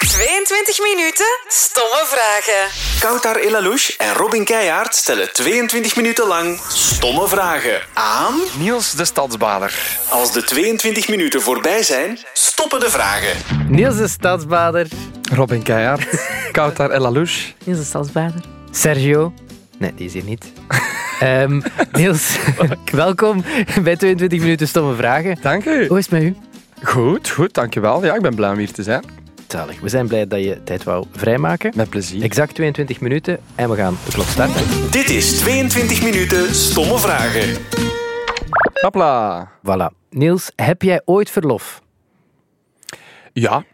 22 minuten stomme vragen. Koutar Elalouche en Robin Keijaard stellen 22 minuten lang stomme vragen aan. Niels de Stadsbader. Als de 22 minuten voorbij zijn, stoppen de vragen. Niels de Stadsbader. Robin Keijaard. Koutar El Alouche. Niels de Stadsbader. Sergio. Nee, die is hier niet. Ehm, Niels, welkom bij 22 minuten stomme vragen. Dank u. Hoe is het met u? Goed, goed, dankjewel. Ja, ik ben blij om hier te zijn. Zalig. We zijn blij dat je tijd wou vrijmaken. Met plezier. Exact 22 minuten en we gaan de klok starten. Dit is 22 minuten stomme vragen. Hopla. Voilà. Niels, heb jij ooit verlof? Ja,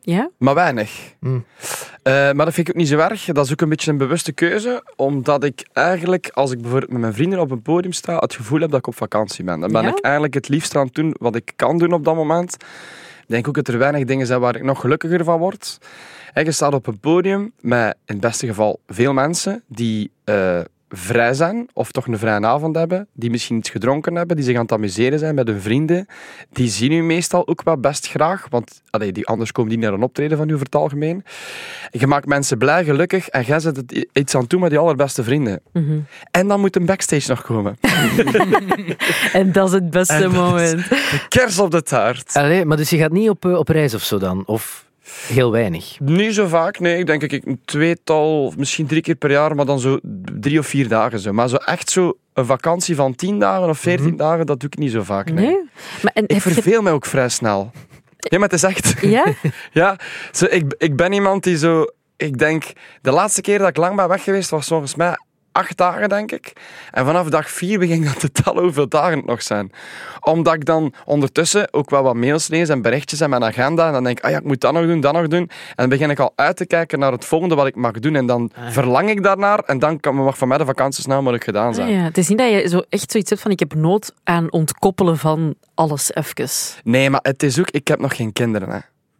Ja? maar weinig. Eh, maar dat vind ik ook niet zo erg. Dat is ook een beetje een bewuste keuze. Omdat ik eigenlijk, als ik bijvoorbeeld met mijn vrienden op een podium sta, het gevoel heb dat ik op vakantie ben. Dan ben Ja? ik eigenlijk het liefst aan het doen wat ik kan doen op dat moment. Ik denk ook dat er weinig dingen zijn waar ik nog gelukkiger van word. En je staat op een podium met in het beste geval veel mensen die eh, vrij zijn of toch een vrije avond hebben, die misschien iets gedronken hebben, die zich aan het amuseren zijn met hun vrienden. Die zien u meestal ook wel best graag, want allee, die, anders komen die naar een optreden van u voor het algemeen. Je maakt mensen blij, gelukkig en jij zet het i- iets aan toe met die allerbeste vrienden. En dan moet een backstage nog komen. En dat is het beste En dat is- moment. Kers op de taart. Allee, maar dus je gaat niet op, eh, op reis of zo dan? Of heel weinig? Niet zo vaak, nee. Ik denk dat ik een tweetal, of misschien drie keer per jaar, maar dan zo drie of vier dagen zo. Maar zo echt zo een vakantie van tien dagen of veertien dagen, dat doe ik niet zo vaak. Nee. Mhm. Nee? Maar en Ik heb je- verveel mij ook vrij snel. Ja, maar het is echt. Ja? Ja, zo, ik, ik ben iemand die zo... Ik denk, de laatste keer dat ik lang ben weg geweest was volgens mij acht dagen, denk ik. En vanaf dag vier begin ik dan te tellen hoeveel dagen het nog zijn. Omdat ik dan ondertussen ook wel wat mails lees en berichtjes en mijn agenda. En dan denk ik, ah ja, ik moet dat nog doen, dat nog doen. En dan begin ik al uit te kijken naar het volgende wat ik mag doen. En dan Ah verlang ik daarnaar. En dan kan, mag van mij de vakantie snel mogelijk gedaan zijn. Ah ja. Het is niet dat je zo echt zoiets hebt van ik heb nood aan ontkoppelen van alles even. Nee, maar het is ook... Ik heb nog geen kinderen, hè.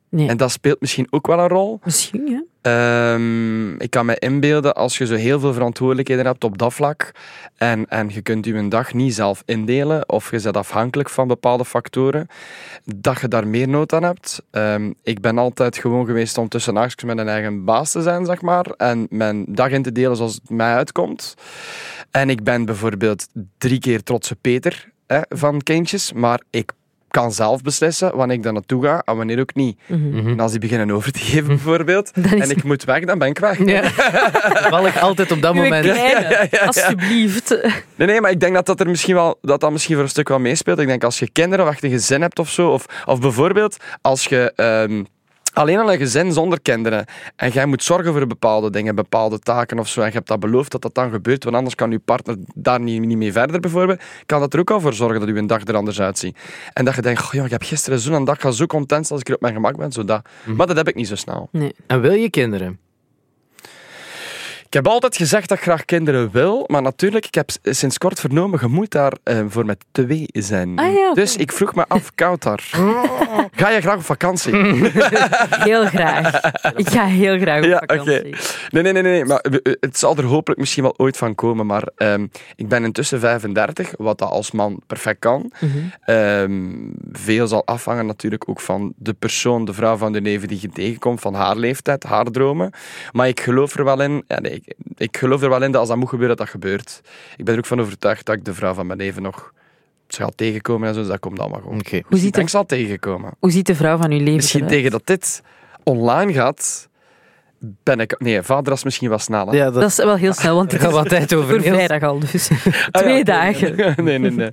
Nee. En dat speelt misschien ook wel een rol. Misschien, ja. Ehm, ik kan me inbeelden als je zo heel veel verantwoordelijkheden hebt op dat vlak en, en je kunt je een dag niet zelf indelen of je bent afhankelijk van bepaalde factoren, dat je daar meer nood aan hebt. Ehm, ik ben altijd gewoon geweest om tussen haakjes met een eigen baas te zijn, zeg maar, en mijn dag in te delen zoals het mij uitkomt. En ik ben bijvoorbeeld drie keer trotse Peter hè, van kindjes, maar ik kan zelf beslissen wanneer ik daar naartoe ga en wanneer ook niet. En als die beginnen over te geven, bijvoorbeeld, Mhm. Dan is- en ik moet weg, dan ben ik weg. Val ik altijd op dat Uwe moment. kleine, alsjeblieft. Nee, nee, maar ik denk dat dat er misschien wel dat dat misschien voor een stuk wel meespeelt. Ik denk als je kinderen of echt een gezin hebt of zo, of, of bijvoorbeeld als je ehm, alleen al een gezin zonder kinderen en jij moet zorgen voor bepaalde dingen, bepaalde taken of zo, en je hebt dat beloofd dat dat dan gebeurt, want anders kan je partner daar niet, niet mee verder bijvoorbeeld, kan dat er ook al voor zorgen dat je dag er anders uitziet. En dat je denkt, oh, joh, ik heb gisteren zo'n dag gehad, zo content als ik er op mijn gemak ben, zo dat. Maar dat heb ik niet zo snel. Nee. En wil je kinderen? Ik heb altijd gezegd dat ik graag kinderen wil, maar natuurlijk, ik heb s- sinds kort vernomen, je moet daar eh, voor met twee zijn. Ah ja, oké. Dus ik vroeg me af, Koutar, ga je graag op vakantie? Heel graag. Ik ga heel graag op Ja, vakantie. oké. Nee, nee, nee, nee, maar we- we- het zal er hopelijk misschien wel ooit van komen, maar ehm, ik ben intussen 35, wat dat als man perfect kan. Mhm. Ehm, veel zal afhangen natuurlijk ook van de persoon, de vrouw van de neven die je tegenkomt, van haar leeftijd, haar dromen. Maar ik geloof er wel in, ja, nee, ik, ik geloof er wel in dat als dat moet gebeuren, dat dat gebeurt. Ik ben er ook van overtuigd dat ik de vrouw van mijn leven nog ze gaat tegenkomen en zo, dus dat komt allemaal gewoon. Oké. Hoe, ziet Ik de, zal tegenkomen. hoe ziet de vrouw van uw leven Misschien eruit? tegen dat dit online gaat, ben ik... Nee, vader is misschien wel sneller. Ja, Dat is wel heel snel, want Daar ik gaan we wat tijd over, voor Niels. vrijdag al. Dus Ah, ja, twee oké, dagen. Nee nee, nee, nee.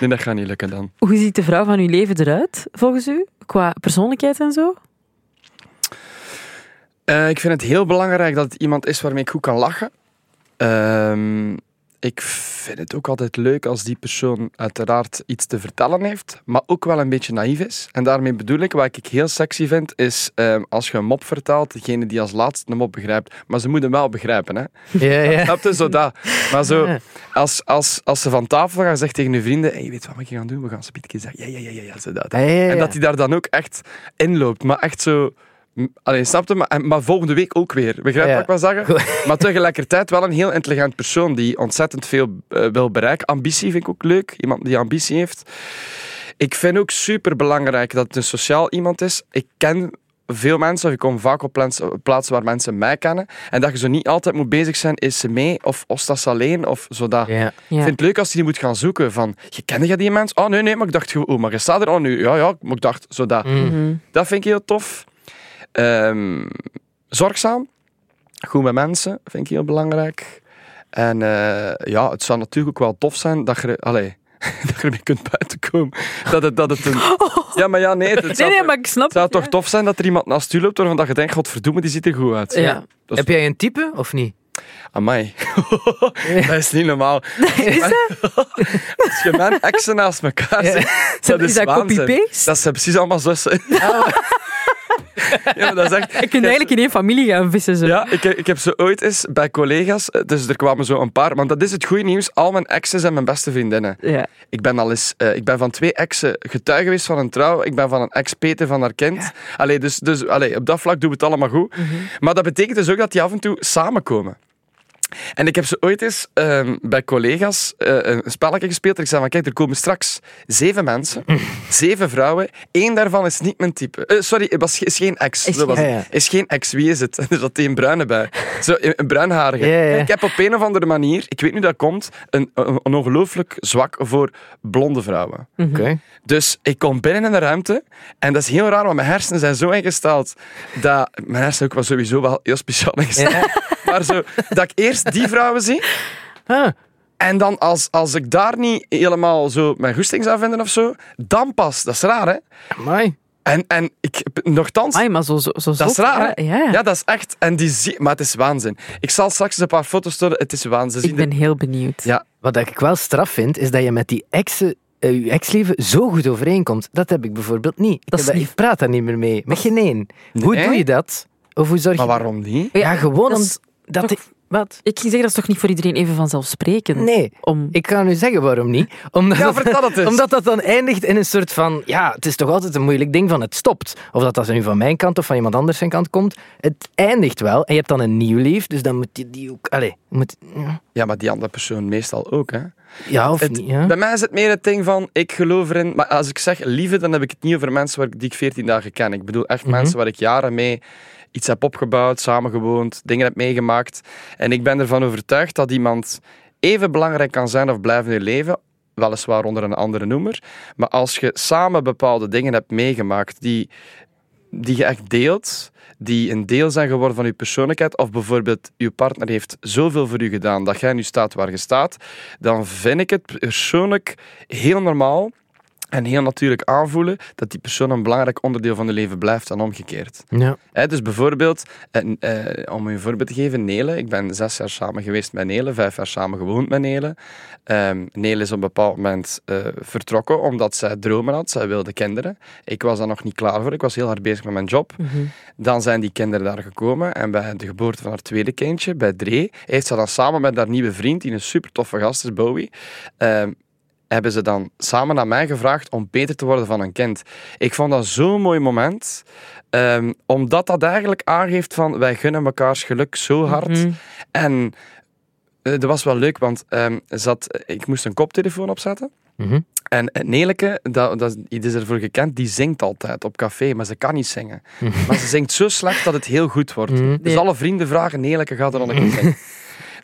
Nee, dat gaat niet lukken dan. Hoe ziet de vrouw van uw leven eruit, volgens u? Qua persoonlijkheid en zo? Eh, ik vind het heel belangrijk dat het iemand is waarmee ik goed kan lachen. Ehm, ik vind het ook altijd leuk als die persoon uiteraard iets te vertellen heeft, maar ook wel een beetje naïef is. En daarmee bedoel ik, wat ik heel sexy vind, is ehm, als je een mop vertelt, degene die als laatste een mop begrijpt. Maar ze moeten hem wel begrijpen, hè. Ja, ja. Snap je? Zo dat. Maar zo, als, als, als ze van tafel gaan, zegt tegen hun vrienden, hey, weet je wat we gaan doen? We gaan spietjes zeggen, ja, ja, ja, ja, ja, zo dat. Ja, ja, ja. En dat hij daar dan ook echt in loopt. Maar echt zo... m- Allee, snapte, maar, en- maar volgende week ook weer. Begrijp Ja. wat ik wil zeggen? Goed. Maar tegelijkertijd wel een heel intelligent persoon die ontzettend veel eh, wil bereiken. Ambitie vind ik ook leuk. Iemand die ambitie heeft. Ik vind ook superbelangrijk dat het een sociaal iemand is. Ik ken veel mensen, of ik kom vaak op plaats- plaatsen waar mensen mij kennen. En dat je zo niet altijd moet bezig zijn, is ze mee of was dat ze alleen of zodat. Ja. Ik Ja. vind het leuk als je die moet gaan zoeken van, je kende je die mens? Oh nee, nee, maar ik dacht, gewoon, oh, maar je staat er, oh nu, ja, ja, maar ik dacht, zodat. Mhm. Dat vind ik heel tof. Ehm, zorgzaam. Goed met mensen vind ik heel belangrijk. En eh, ja, het zou natuurlijk ook wel tof zijn dat je, er- allee, dat je ermee kunt buitenkomen. Dat het, dat het een... Ja, maar ja, nee. Het, het Nee, zou, nee, maar ik snap het zou het, toch ja. tof zijn dat er iemand naast u loopt waarvan dat je denkt, godverdomme, die ziet er goed uit. Ja. Dat is, Heb jij een type of niet? Amai. dat is niet normaal. Als je mijn exen naast elkaar Ja. zet, dat is, Is dat waanzin. copy-paste? Dat zijn precies allemaal zussen. ja, maar dat is echt... Je kunt eigenlijk in één familie gaan vissen. Zo. Ja, ik, ik heb ze ooit eens bij collega's, eh, dus er kwamen zo een paar, want dat is het goede nieuws, al mijn exen zijn mijn beste vriendinnen. Ja. Ik ben al eens, eh, ik ben van twee exen getuige geweest van een trouw, ik ben van een ex Peter van haar kind. Allee, dus dus allee, op dat vlak doen we het allemaal goed. Mhm. Maar dat betekent dus ook dat die af en toe samenkomen. En ik heb ze ooit eens ehm, bij collega's eh, een spelletje gespeeld. En ik zei van, kijk, er komen straks zeven mensen, Mhm. zeven vrouwen. Één daarvan is niet mijn type. Eh, sorry, het was, ge- is geen ex. Is Zo was geen- het. Ja, ja. Is geen ex, wie is het? En er zat een bruine bij. Zo, een een bruinharige. Ja, ja. Ik heb op een of andere manier, ik weet niet hoe dat komt, een, een een ongelooflijk zwak voor blonde vrouwen. Oké. Dus ik kom binnen in de ruimte en dat is heel raar, want mijn hersenen zijn zo ingesteld dat... Mijn hersenen ook wel sowieso wel heel speciaal ingesteld. Maar zo, dat ik eerst die vrouwen zie Ah, en dan als, als ik daar niet helemaal zo mijn goesting zou vinden of zo, dan pas. Dat is raar, hè? amai. En, en ik, nogthans, Amai, maar zo, zo, zo dat is zot, raar, hè? Ja. ja. dat is echt. En die zie... Maar het is waanzin. Ik zal straks een paar foto's sturen. Het is waanzin. Zie Ik ben heel benieuwd. Ja. Wat ik wel straf vind, is dat je met die exen, eh, je ex-leven zo goed overeenkomt. Dat heb ik bijvoorbeeld niet. Ik, heb Dat is dat- lief. ik praat daar niet meer mee. Met geen één. Hoe Nee? doe je dat? Of hoe zorg je... Maar waarom niet? Ja, gewoon dat om... is Dat toch- ik- Wat? Oh, Ik ging zeggen, dat is toch niet voor iedereen even vanzelfsprekend? Nee. Om... Ik kan nu zeggen waarom niet. Omdat, Ja, vertel het eens. omdat dat dan eindigt in een soort van... Ja, het is toch altijd een moeilijk ding van het stopt. Of dat dat nu van mijn kant of van iemand anders zijn kant komt. Het eindigt wel. En je hebt dan een nieuw lief, dus dan moet je die ook... Allee, moet, Ja, maar die andere persoon meestal ook, hè? ja, of Het- niet. Ja. Bij mij is het meer het ding van, ik geloof erin... Maar als ik zeg liefde, dan heb ik het niet over mensen waar, ik- die ik veertien dagen ken. Ik bedoel Mhm. echt mensen waar ik jaren mee iets heb opgebouwd, samengewoond, dingen heb meegemaakt. En ik ben ervan overtuigd dat iemand even belangrijk kan zijn of blijven in je leven, weliswaar onder een andere noemer. Maar als je samen bepaalde dingen hebt meegemaakt die, die je echt deelt, die een deel zijn geworden van je persoonlijkheid, of bijvoorbeeld je partner heeft zoveel voor u gedaan dat jij nu staat waar je staat, dan vind ik het persoonlijk heel normaal en heel natuurlijk aanvoelen dat die persoon een belangrijk onderdeel van je leven blijft en omgekeerd. Ja. Hè, dus bijvoorbeeld, en, eh, om u een voorbeeld te geven, Nele. Ik ben zes jaar samen geweest met Nele, vijf jaar samen gewoond met Nele. Ehm, Nele is op een bepaald moment eh, vertrokken omdat zij dromen had. Zij wilde kinderen. Ik was daar nog niet klaar voor. Ik was heel hard bezig met mijn job. Dan zijn die kinderen daar gekomen. En bij de geboorte van haar tweede kindje, bij Dree, heeft ze dan samen met haar nieuwe vriend, die een super toffe gast is, Bowie, ehm, hebben ze dan samen aan mij gevraagd om beter te worden van een kind. Ik vond dat zo'n mooi moment. Ehm, omdat dat eigenlijk aangeeft van wij gunnen mekaars geluk zo hard. En eh, dat was wel leuk, want ehm, ze had- ik moest een koptelefoon opzetten. Mhm. En eh, Neleke, dat, dat, die is ervoor gekend, die zingt altijd op café, maar ze kan niet zingen. Maar ze zingt zo slecht dat het heel goed wordt. Dus alle vrienden vragen, Neleke, ga er dan een keer zingen.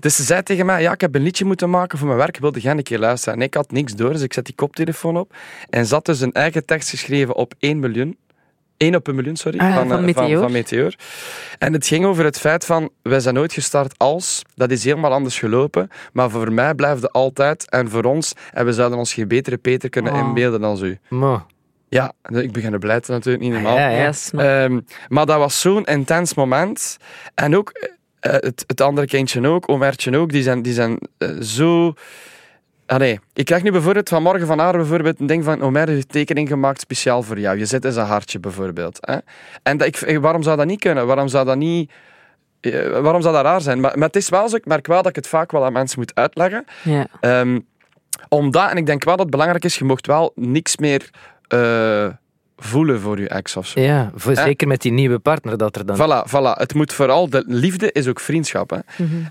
Dus ze zei tegen mij, ja, ik heb een liedje moeten maken voor mijn werk, wilde jij een keer luisteren? En ik had niks door, dus ik zet die koptelefoon op. En ze had dus een eigen tekst geschreven op 1 miljoen. 1 op een miljoen, sorry, Ah, eh, van Meteor. Van, Meteor. En het ging over het feit van, wij zijn nooit gestart als, dat is helemaal anders gelopen, maar voor mij blijft het altijd en voor ons, en we zouden ons geen betere Peter kunnen Oh. inbeelden dan u. Maar, Ja, ik begin te blijten natuurlijk, niet normaal. ja, Ah, Ja, ja. snap. Ehm, maar dat was zo'n intens moment. En ook eh, het, het andere kindje ook, Omertje ook, die zijn, die zijn eh, zo... Allee, ik krijg nu bijvoorbeeld vanmorgen van haar bijvoorbeeld een ding van Omer heeft een tekening gemaakt speciaal voor jou. Je zit in zijn hartje bijvoorbeeld. Hè? En dat, ik, eh, waarom zou dat niet kunnen? Waarom zou dat niet... eh, waarom zou dat raar zijn? Maar, maar het is wel zo, ik merk wel dat ik het vaak wel aan mensen moet uitleggen. ja. Ehm, omdat, en ik denk wel dat het belangrijk is, je mocht wel niks meer eh, voelen voor je ex of zo. Ja, voor, Hè? zeker met die nieuwe partner dat er dan... Voilà, voilà, het moet vooral, de liefde is ook vriendschap. Hè.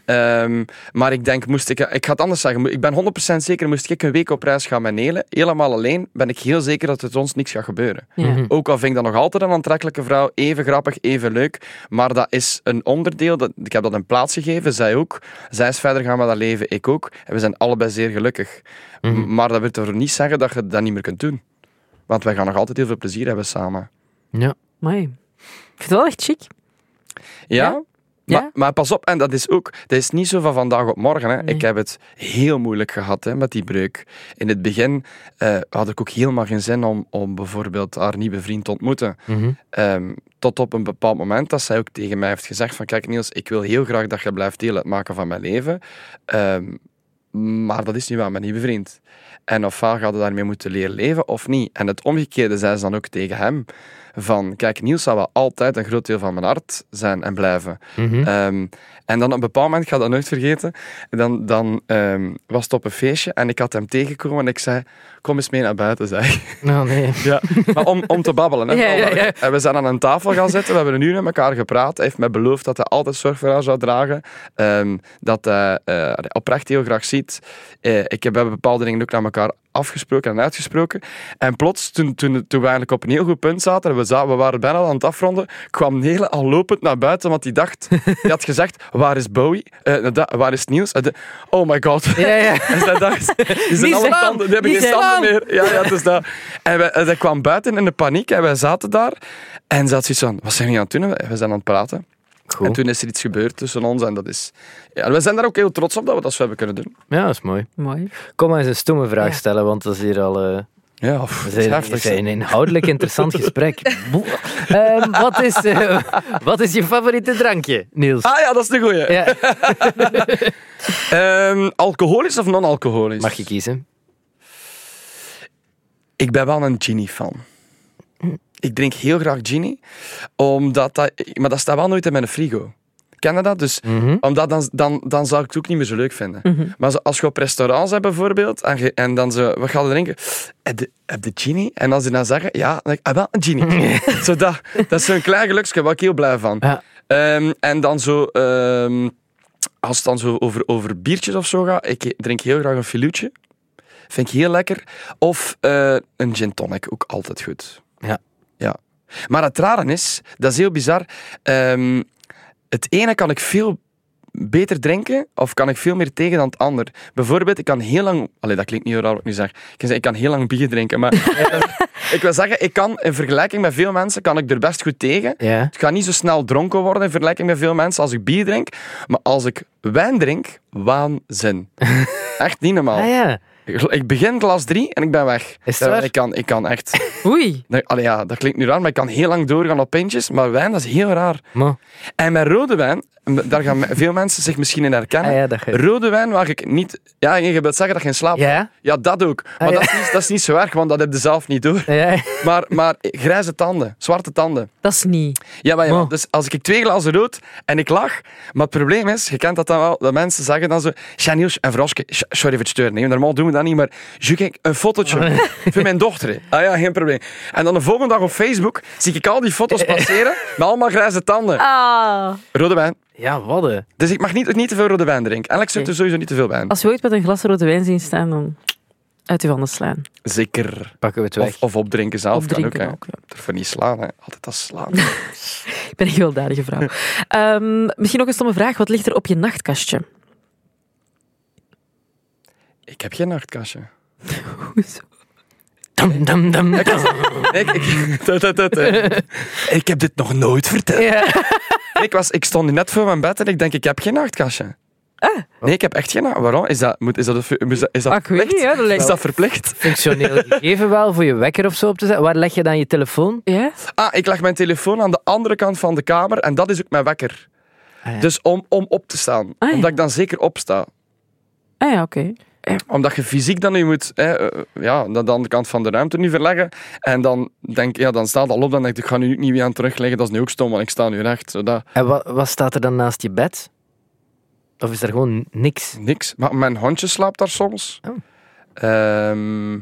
Ehm, maar ik denk, moest ik, eh, ik ga het anders zeggen, ik ben 100% zeker, moest ik een week op reis gaan met Nele, helemaal alleen, ben ik heel zeker dat het ons niks gaat gebeuren. Ja. Ook al vind ik dat nog altijd een aantrekkelijke vrouw, even grappig, even leuk, maar dat is een onderdeel, dat, ik heb dat een plaats gegeven, zij ook. Zij is verder gaan met haar leven, ik ook. En we zijn allebei zeer gelukkig. M- Maar dat wil toch niet zeggen dat je dat niet meer kunt doen. Want wij gaan nog altijd heel veel plezier hebben samen. Ja. Amai. Ik vind het wel echt chic. Ja? Ja? Ja? Maar, maar pas op, en dat is ook, dat is niet zo van vandaag op morgen. Hè. Nee. Ik heb het heel moeilijk gehad hè, met die breuk. In het begin eh, had ik ook helemaal geen zin om, om bijvoorbeeld haar nieuwe vriend te ontmoeten. Mhm. Ehm, tot op een bepaald moment dat zij ook tegen mij heeft gezegd van kijk Niels, ik wil heel graag dat je blijft deel uitmaken van mijn leven. Ehm, maar dat is niet waar mijn nieuwe vriend. En ofwel gaat je daarmee moeten leren leven of niet. En het omgekeerde zei ze dan ook tegen hem. Van, kijk, Niels zal wel altijd een groot deel van mijn hart zijn en blijven. Mhm. Ehm, en dan op een bepaald moment, ik ga dat nooit vergeten, dan, dan ehm, was het op een feestje en ik had hem tegengekomen en ik zei, kom eens mee naar buiten, zei ik. Nou, nee. Ja. Maar om, om te babbelen. Hè? Ja, ja, ja. En we zijn aan een tafel gaan zitten, we hebben een uur met elkaar gepraat. Hij heeft mij beloofd dat hij altijd zorg voor haar zou dragen. Ehm, dat hij eh, oprecht heel graag ziet. Eh, ik heb, we hebben bepaalde dingen ook naar elkaar afgesproken en uitgesproken. En plots, toen, toen, toen we eigenlijk op een heel goed punt zaten, en we, za- we waren bijna aan het afronden, kwam Nele al lopend naar buiten, want die dacht, die had gezegd, waar is Bowie? Eh, da- waar is Niels? Eh, de- oh my god. Ja, ja. En zij dacht, die zijn Niet alle zijn tanden, die hebben niet geen zijn tanden meer. Ja, ja, het is dat. En wij, en zij kwam buiten in de paniek en wij zaten daar. En ze had zoiets van, wat zijn we aan het doen? We zijn aan het praten. Goed. En toen is er iets gebeurd tussen ons en dat is... Ja, we zijn daar ook heel trots op dat we dat zo hebben kunnen doen. ja, dat is mooi. Mooi. Kom maar eens een stomme vraag Ja. stellen, want dat is hier al... eh, Ja, pff, Het het is is een, heftig. het is een inhoudelijk interessant gesprek. Boe. Ehm, wat, is, eh, wat is je favoriete drankje, Niels? Ah ja, dat is de goeie. Ja, Ehm, alcoholisch of non-alcoholisch? mag je kiezen? Ik ben wel een Gini-fan. Ik drink heel graag Gini, omdat dat, maar dat staat wel nooit in mijn frigo. Ken je dat? Dus, Omdat dan, dan, dan zou ik het ook niet meer zo leuk vinden. Maar zo- als je op restaurants hebt bijvoorbeeld, en, je- en dan zo, wat gaan we drinken? Heb de, heb je Gini? En als ze dan zeggen, ja, dan denk ik, ah, wel, een Gini. zo dat, dat is zo'n klein geluksje, waar ik heel blij van. Ja. Ehm, en dan zo... ehm, als het dan zo over, over biertjes of zo gaat, ik drink heel graag een filuutje. Vind ik heel lekker. Of eh, een gin tonic, ook altijd goed. Ja. ja. Maar het rare is, dat is heel bizar. ehm, het ene kan ik veel beter drinken, of kan ik veel meer tegen dan het ander. Bijvoorbeeld, ik kan heel lang... Allee, dat klinkt niet heel raar wat ik nu zeg. Ik, kan zeggen, ik kan heel lang bier drinken, maar... eh, ik wil zeggen, ik kan, in vergelijking met veel mensen, kan ik er best goed tegen. Ja. Het gaat niet zo snel dronken worden in vergelijking met veel mensen als ik bier drink. Maar als ik wijn drink, waanzin. Echt niet normaal. Ah ja. Ik begin glas drie en ik ben weg. Is het waar? Ik kan, ik kan echt... Oei. Nee, Allee, ja, dat klinkt nu raar, maar ik kan heel lang doorgaan op pintjes. Maar wijn, dat is heel raar. Mo. En met rode wijn, daar gaan me- veel mensen zich misschien in herkennen. Ah ja, dat ge- Rode wijn waar ik niet... Ja, je wilt zeggen dat je in slaap Ja? Ah, ja, dat ook. Maar ja. dat, is niet, dat is niet zo erg, want dat heb je zelf niet door. Ja. Maar, maar grijze tanden, zwarte tanden. Dat is niet. Ja, maar ja, Wow. dus als ik twee glazen rood en ik lach. Maar het probleem is, je kent dat dan wel, dat mensen zeggen dan zo. "Tja, Niels en Vroske, sh- sorry voor het steuren. Nee, normaal doen we dat niet, maar zoek ik een fotootje voor mijn dochter. hè." Ah ja, geen probleem. En dan de volgende dag op Facebook zie ik al die foto's passeren met allemaal grijze tanden. Ah. Rode wijn. Ja, wat een- Dus ik mag niet, niet te veel rode wijn drinken. Eigenlijk zou ik er sowieso niet te veel wijn. Als we ooit met een glas rode wijn zien staan, dan uit uw handen slaan. Zeker. Pakken we het weg. Of, of opdrinken zelf Of drinken kan ook. ook, hè. Ervan niet slaan, hè. altijd als slaan. Ik ben een gewelddadige vrouw. Ehm, misschien ook een stomme vraag. Wat ligt er op je nachtkastje? ik heb geen nachtkastje. Hoezo? Dum, dum, dum. Nee, ik, ik- dat- dat- dat, eh. ik heb dit nog nooit verteld. Ja. Nee, Ik, was, ik stond net voor mijn bed en ik denk, ik heb geen nachtkastje. Nee, ik heb echt geen nacht. Waarom? Is dat, moet, is dat, een- is dat, is dat Ah, ik weet verplicht? niet, hè, dat lijkt is dat verplicht? Functioneel gegeven wel voor je wekker of zo op te zetten. Waar leg je dan je telefoon? Ja? Ah, ik leg mijn telefoon aan de andere kant van de kamer en dat is ook mijn wekker. Ah, ja. Dus om, om op te staan. Ah, ja. Omdat ik dan zeker opsta. Ah ja, oké. Omdat je fysiek dan nu moet hè, eh, ja, naar de andere kant van de ruimte nu verleggen. En dan denk ja, dan staat al op. Dan denk ik, ik ga nu niet weer aan terugleggen. Dat is nu ook stom, want ik sta nu recht. Zodat, En wa- wat staat er dan naast je bed? Of is er gewoon niks? niks. Maar mijn hondje slaapt daar soms. Oh. Ehm,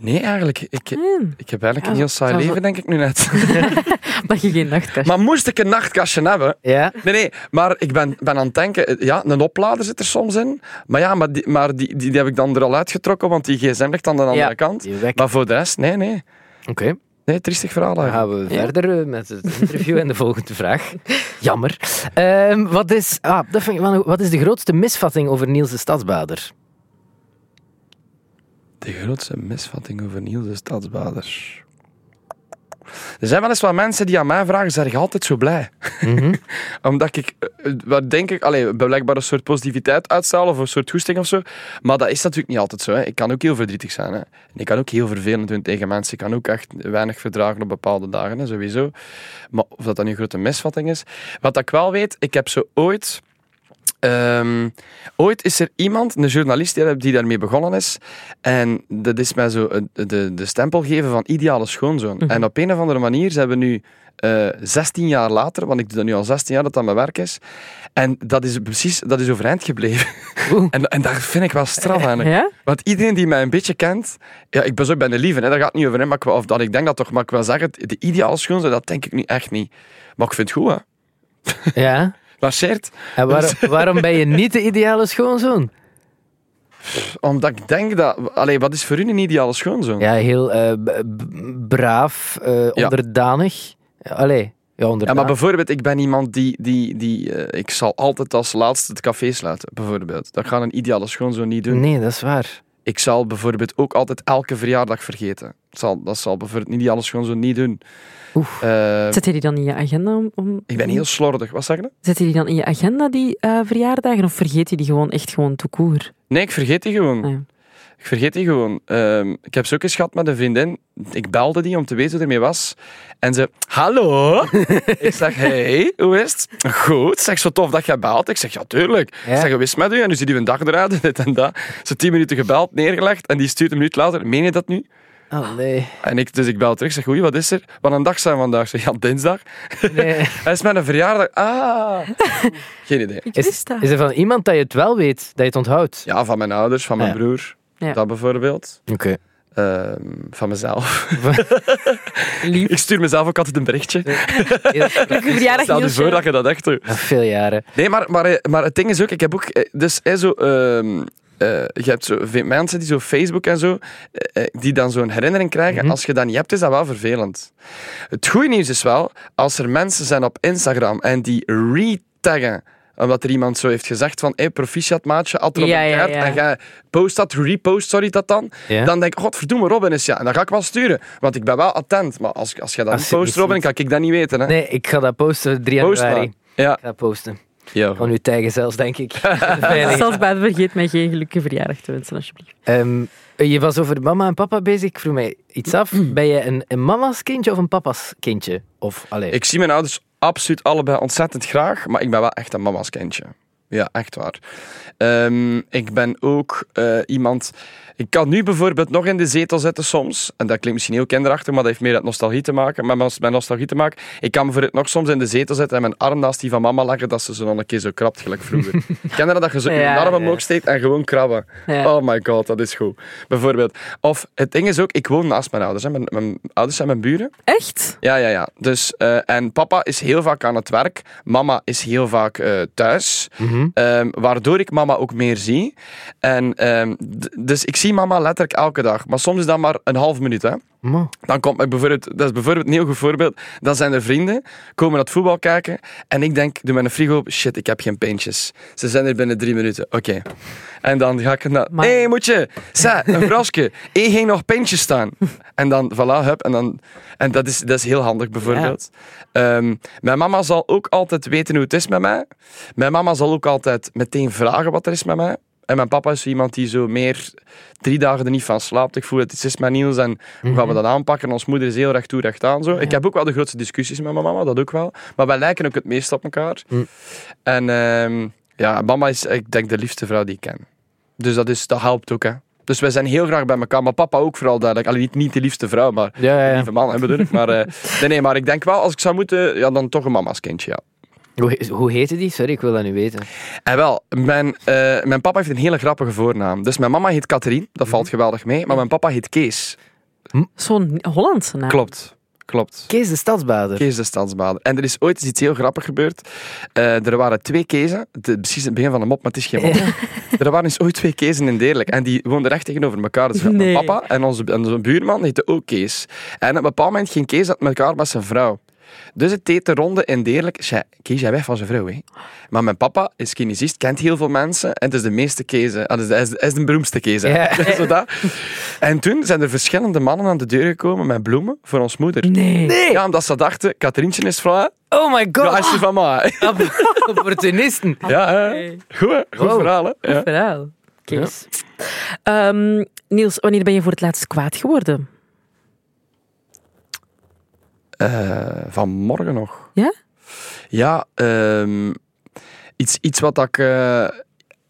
Nee, eigenlijk. Ik, Hmm. ik heb eigenlijk een Ja, heel saai zelfs- leven, denk ik nu net. Dat je geen nachtkastje maar moest ik een nachtkastje hebben? Ja. Nee, nee, maar ik ben, ben aan het denken. eh, Ja, een oplader zit er soms in. Maar ja, maar die, maar die, die, die heb ik dan er al uitgetrokken, want die gsm ligt aan de andere Ja, kant. die weg. Maar voor de rest, nee, nee. Oké, Nee, triestig verhaal dan eigenlijk. gaan we verder eh, met het interview en de volgende vraag. Jammer. Ehm, wat, is, ah, dat vind ik, wel- wat is de grootste misvatting over Niels de Stadsbader? De grootste misvatting over Niels de Stadsbader. Er zijn wel eens wat mensen die aan mij vragen, zeg ik altijd zo blij. Omdat ik, eh, eh, wat denk ik, allee, blijkbaar een soort positiviteit uitstralen of een soort goesting of zo. Maar dat is natuurlijk niet altijd zo. Hè. Ik kan ook heel verdrietig zijn. Hè. En ik kan ook heel vervelend doen tegen mensen. Ik kan ook echt weinig verdragen op bepaalde dagen, hè, sowieso. Maar of dat dan nu een grote misvatting is. Wat ik wel weet, ik heb zo ooit... Ehm, ooit is er iemand, een journalist die, die daarmee begonnen is. En dat is mij zo een- de, de stempel geven van ideale schoonzoon. En op een of andere manier zijn we nu eh 16 jaar later, want ik doe dat nu al 16 jaar dat dat mijn werk is. En dat is precies dat is overeind gebleven. Oeh. En, en dat vind ik wel straf eigenlijk. Ja? Want iedereen die mij een beetje kent, ja, ik ben zo bij de lieve, hè, daar gaat het niet over. Hè, maar ik, wil- of dat, ik denk dat toch, maar ik wil zeggen, de ideale schoonzoon, dat denk ik nu echt niet. Maar ik vind het goed, hè. Ja. Marcheert. En waar- waarom ben je niet de ideale schoonzoon? Omdat ik denk dat... Allee, wat is voor u een ideale schoonzoon? Ja, heel eh, b- b- braaf, eh, onderdanig. Allee, ja, Ja, onderdanig. maar bijvoorbeeld, ik ben iemand die... die, die eh, ik zal altijd als laatste het café sluiten, bijvoorbeeld. Dat gaat een ideale schoonzoon niet doen. Nee, dat is waar. Ik zal bijvoorbeeld ook altijd elke verjaardag vergeten. Dat zal, dat zal bijvoorbeeld een ideale schoonzoon niet doen. Oef. Eh, Zet je die dan in je agenda? Om, om- ik ben heel slordig. Wat zeg je? Zet je die dan in je agenda, die eh, verjaardagen? Of vergeet je die gewoon echt gewoon tout court? Nee, ik vergeet die gewoon. Ah ja. Ik vergeet die gewoon. Ehm, ik heb ze ook eens gehad met een vriendin. Ik belde die om te weten hoe het ermee was. En ze, hallo. ik zeg, hey, hoe is het? Goed. Zeg, zo tof dat je belt. Ik zeg, ja, tuurlijk. Ja. Ik zeg, hoe is het met u? En nu ziet u een dag eruit en dit en dat. Ze tien minuten gebeld, neergelegd. En die stuurt een minuut later, meen je dat nu? Oh, nee. En ik, dus ik bel terug, zeg, oei, wat is er? Wat een dag zijn we vandaag? Ze, ja, dinsdag. nee. Hij is met een verjaardag. Ah. Geen idee. Ik Is, wist dat. is er van iemand dat je het wel weet, dat je het onthoudt? Ja, van mijn ouders, van mijn Ja. broer. Ja. Dat bijvoorbeeld. Oké. Ehm, van mezelf. ik stuur mezelf ook altijd een berichtje. Gelukkig verjaardag, Stel je Nielsje. voor dat je dat echt doet. Na veel jaren. Nee, maar, maar, eh, maar het ding is ook, ik heb ook... eh, Dus eh, zo, ehm, eh, je hebt zo veel mensen die zo Facebook en zo, eh, eh, die dan zo'n herinnering krijgen. Mhm. Als je dat niet hebt, is dat wel vervelend. Het goede nieuws is wel, als er mensen zijn op Instagram en die retaggen omdat er iemand zo heeft gezegd van, hey, proficiat maatje, at erop Ja, een ja, kaart ja. en jij post dat, repost, sorry dat dan. Ja. Dan denk ik, godverdomme, Robin is ja. En dan ga ik wel sturen, want ik ben wel attent. Maar als, als jij dat Als niet je het post, niet Robin, kan ik dat niet weten. Hè. Nee, ik ga dat posten 3 post januari. maar. Ik Ja. ga dat posten. ja. Van uw tijgen zelfs, denk ik. Veilig. Zelfs bij de vergeet mij geen gelukkige verjaardag te wensen, alsjeblieft. Ehm, je was over mama en papa bezig. Ik vroeg mij iets af. Ben je een, een mama's kindje of een papa's kindje? Of, allee. Ik zie mijn ouders absoluut allebei ontzettend graag, maar ik ben wel echt een mama's kindje. Ja, echt waar. Ehm, ik ben ook eh, iemand. Ik kan nu bijvoorbeeld nog in de zetel zitten soms. En dat klinkt misschien heel kinderachtig, maar dat heeft meer met nostalgie te maken. Met mijn- met nostalgie te maken. Ik kan bijvoorbeeld nog soms in de zetel zitten en mijn arm naast die van mama leggen, dat ze zo nog een keer zo krabt, gelijk vroeger. Ken je dat? Dat je zo je Ja, arm ja. omhoog steekt en gewoon krabben. Ja. Oh my god, dat is goed. Bijvoorbeeld. Of het ding is ook, ik woon naast mijn ouders. Hè. Mijn, mijn ouders zijn mijn buren. Echt? Ja, ja, ja. Dus, eh, en papa is heel vaak aan het werk. Mama is heel vaak eh, thuis. Ehm, waardoor ik mama ook meer zie. En, ehm, d- dus ik zie mama letterlijk elke dag. Maar soms is dat maar een half minuut. Hè. Mo. Dan komt er bijvoorbeeld, dat is bijvoorbeeld een heel goed voorbeeld. Dan zijn er vrienden, komen naar het voetbal kijken. En ik denk, doe mijn frigo open. Shit, ik heb geen pintjes. Ze zijn er binnen drie minuten. Oké. En dan ga ik naar. Maar- Hé, hey, moetje, sa, een brasje. Eén ging nog pintjes staan. En dan, voilà, hup. En, dan, en dat, is, dat is heel handig bijvoorbeeld. Ehm, mijn mama zal ook altijd weten hoe het is met mij. Mijn mama zal ook altijd meteen vragen wat er is met mij. En mijn papa is zo iemand die zo meer drie dagen er niet van slaapt. Ik voel het iets is met Niels en hoe gaan we Mhm. dat aanpakken? Ons moeder is heel recht toe, recht aan. Zo. Ik heb ook wel de grootste discussies met mijn mama, dat ook wel. Maar wij lijken ook het meest op elkaar. Mm. En ehm, ja, mama is, ik denk, de liefste vrouw die ik ken. Dus dat, is, dat helpt ook, hè. Dus wij zijn heel graag bij elkaar, maar papa ook vooral duidelijk. Alleen niet, niet de liefste vrouw, maar Ja, ja, de ja. lieve man, hè, bedoel ik. Maar, eh, nee, nee, maar ik denk wel, als ik zou moeten, ja, dan toch een mama's kindje, ja. Hoe, he- hoe heette die? Sorry, ik wil dat nu weten. En wel, mijn, Mhm. eh, mijn papa heeft een hele grappige voornaam. Dus mijn mama heet Catherine, dat valt geweldig mee. Maar mijn papa heet Kees. Zo'n Hollandse naam. Klopt, klopt. Kees de Stadsbader. Kees de Stadsbader. En er is ooit iets heel grappigs gebeurd. Eh, er waren twee Kezen. Het is precies het begin van een mop, maar het is geen mop. Er waren eens ooit twee Kezen in Deerlijk. En die woonden recht tegenover elkaar. Dus we hadden Nee. mijn papa en onze, en onze buurman heette ook Kees. En op een bepaald moment ging Kees uit elkaar met zijn vrouw. Dus het deed de ronde in Deerlijk. Zij, Kees, jij weg van zijn vrouw, hè? Maar mijn papa is kinesist, kent heel veel mensen. En het is de meeste Kezen. Ah, dus Hij is, hij is de beroemdste Kezen. Ja. Zo dat. En toen zijn er verschillende mannen aan de deur gekomen met bloemen voor ons moeder. Nee. Nee. Ja, omdat ze dachten, Katrientje is vrouw, Oh my ja, god. is die van mij. Opportunisten. Ja, hè. Nee. goed, hè? goed Wow. verhaal. Hè? Ja. Verhaal. Kees. Ehm, Niels, wanneer ben je voor het laatst kwaad geworden? Eh, vanmorgen nog. Ja? Ja, ehm, iets, iets wat ik... eh,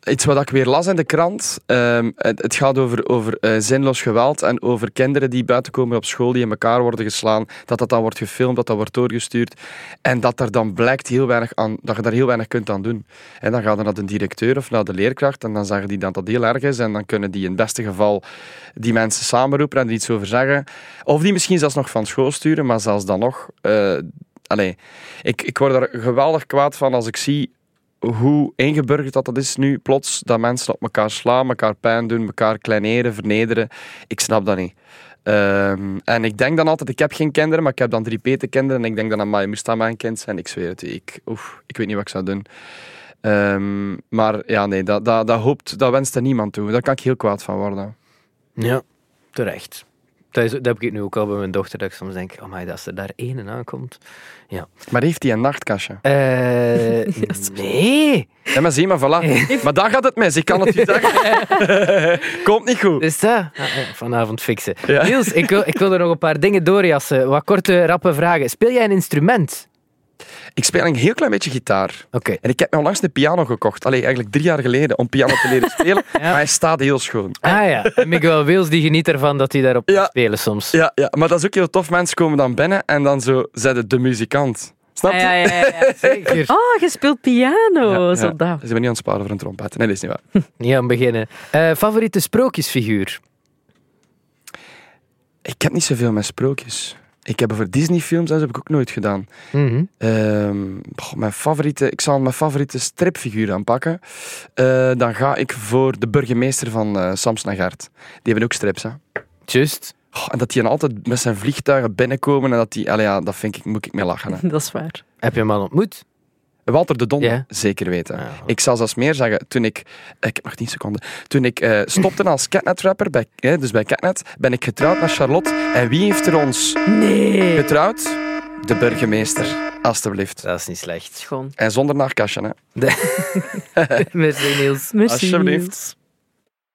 Iets wat ik weer las in de krant. Ehm, het, het gaat over, over eh, zinloos geweld en over kinderen die buiten komen op school, die in elkaar worden geslaan. Dat dat dan wordt gefilmd, dat dat wordt doorgestuurd. En dat er dan blijkt heel weinig aan, dat je daar heel weinig kunt aan doen. En dan gaat je naar de directeur of naar de leerkracht en dan zeggen die dat dat heel erg is. En dan kunnen die in het beste geval die mensen samenroepen en er iets over zeggen. Of die misschien zelfs nog van school sturen, maar zelfs dan nog. eh, allee, ik, ik word er geweldig kwaad van als ik zie hoe ingeburgerd dat, dat is nu plots. Dat mensen op elkaar slaan, elkaar pijn doen, elkaar kleineren, vernederen. Ik snap dat niet. Ehm, en ik denk dan altijd, ik heb geen kinderen, maar ik heb dan drie petekinderen. En ik denk dan aan mij, moest dat mijn kind zijn? Ik zweer het, u, ik, oef, ik weet niet wat ik zou doen. Ehm, maar ja, nee, dat, dat, dat hoopt, dat wenst er niemand toe. Daar kan ik heel kwaad van worden. Ja, terecht. Dat, is, dat heb ik nu ook al bij mijn dochter, dat ik soms denk, oh my, dat ze daar één aankomt. Maar heeft hij een nachtkastje? Eh nee. Ja, maar zie maar, voilà. Maar daar gaat het mis, ik kan het u zeggen. Komt niet goed. Dus dat ah, eh, vanavond fixen. Ja. Niels, ik wil, ik wil er nog een paar dingen doorjassen. Wat korte, rappe vragen. Speel jij een instrument? Ik speel een heel klein beetje gitaar. Oké. En ik heb me onlangs een piano gekocht. Allee, eigenlijk drie jaar geleden, om piano te leren spelen. Maar hij staat heel schoon. Ah ja, en Miguel Wils die geniet ervan dat hij daarop Ja. kan spelen soms. Ja, ja, maar dat is ook heel tof. Mensen komen dan binnen en dan zo zetten de muzikant. Snap je? Ah, ja, ja, ja, ja. Zeker. Oh, je speelt piano. Ja, zo ja. dat. Ze zijn niet aan het sparen voor een trompet. Nee, dat is niet waar. Niet aan beginnen. Eh, favoriete sprookjesfiguur? Ik heb niet zoveel met sprookjes. Ik heb voor Disney-films, dat heb ik ook nooit gedaan. Mhm. Ehm, goh, mijn favoriete, ik zal mijn favoriete stripfiguur aanpakken. Eh, dan ga ik voor de burgemeester van eh Sams Nagaert. Die hebben ook strips, hè. Just. Goh, en dat die dan altijd met zijn vliegtuigen binnenkomen en dat die... Allee, ja, dat vind ik, moet ik mee lachen, hè. Dat is waar. Heb je hem al ontmoet? Walter de Donder, Ja. zeker weten. Ja. Ik zal zelfs meer zeggen, toen ik... Ik heb nog 10 seconden. Toen ik eh, stopte als catnet-rapper, bij, eh, dus bij Catnet, ben ik getrouwd met Charlotte. En wie heeft er ons Nee. getrouwd? De burgemeester, alstublieft. Dat is niet slecht. Schoon. En zonder naarkastje, hè. Merci Niels. Merci. Alsjeblieft. Niels.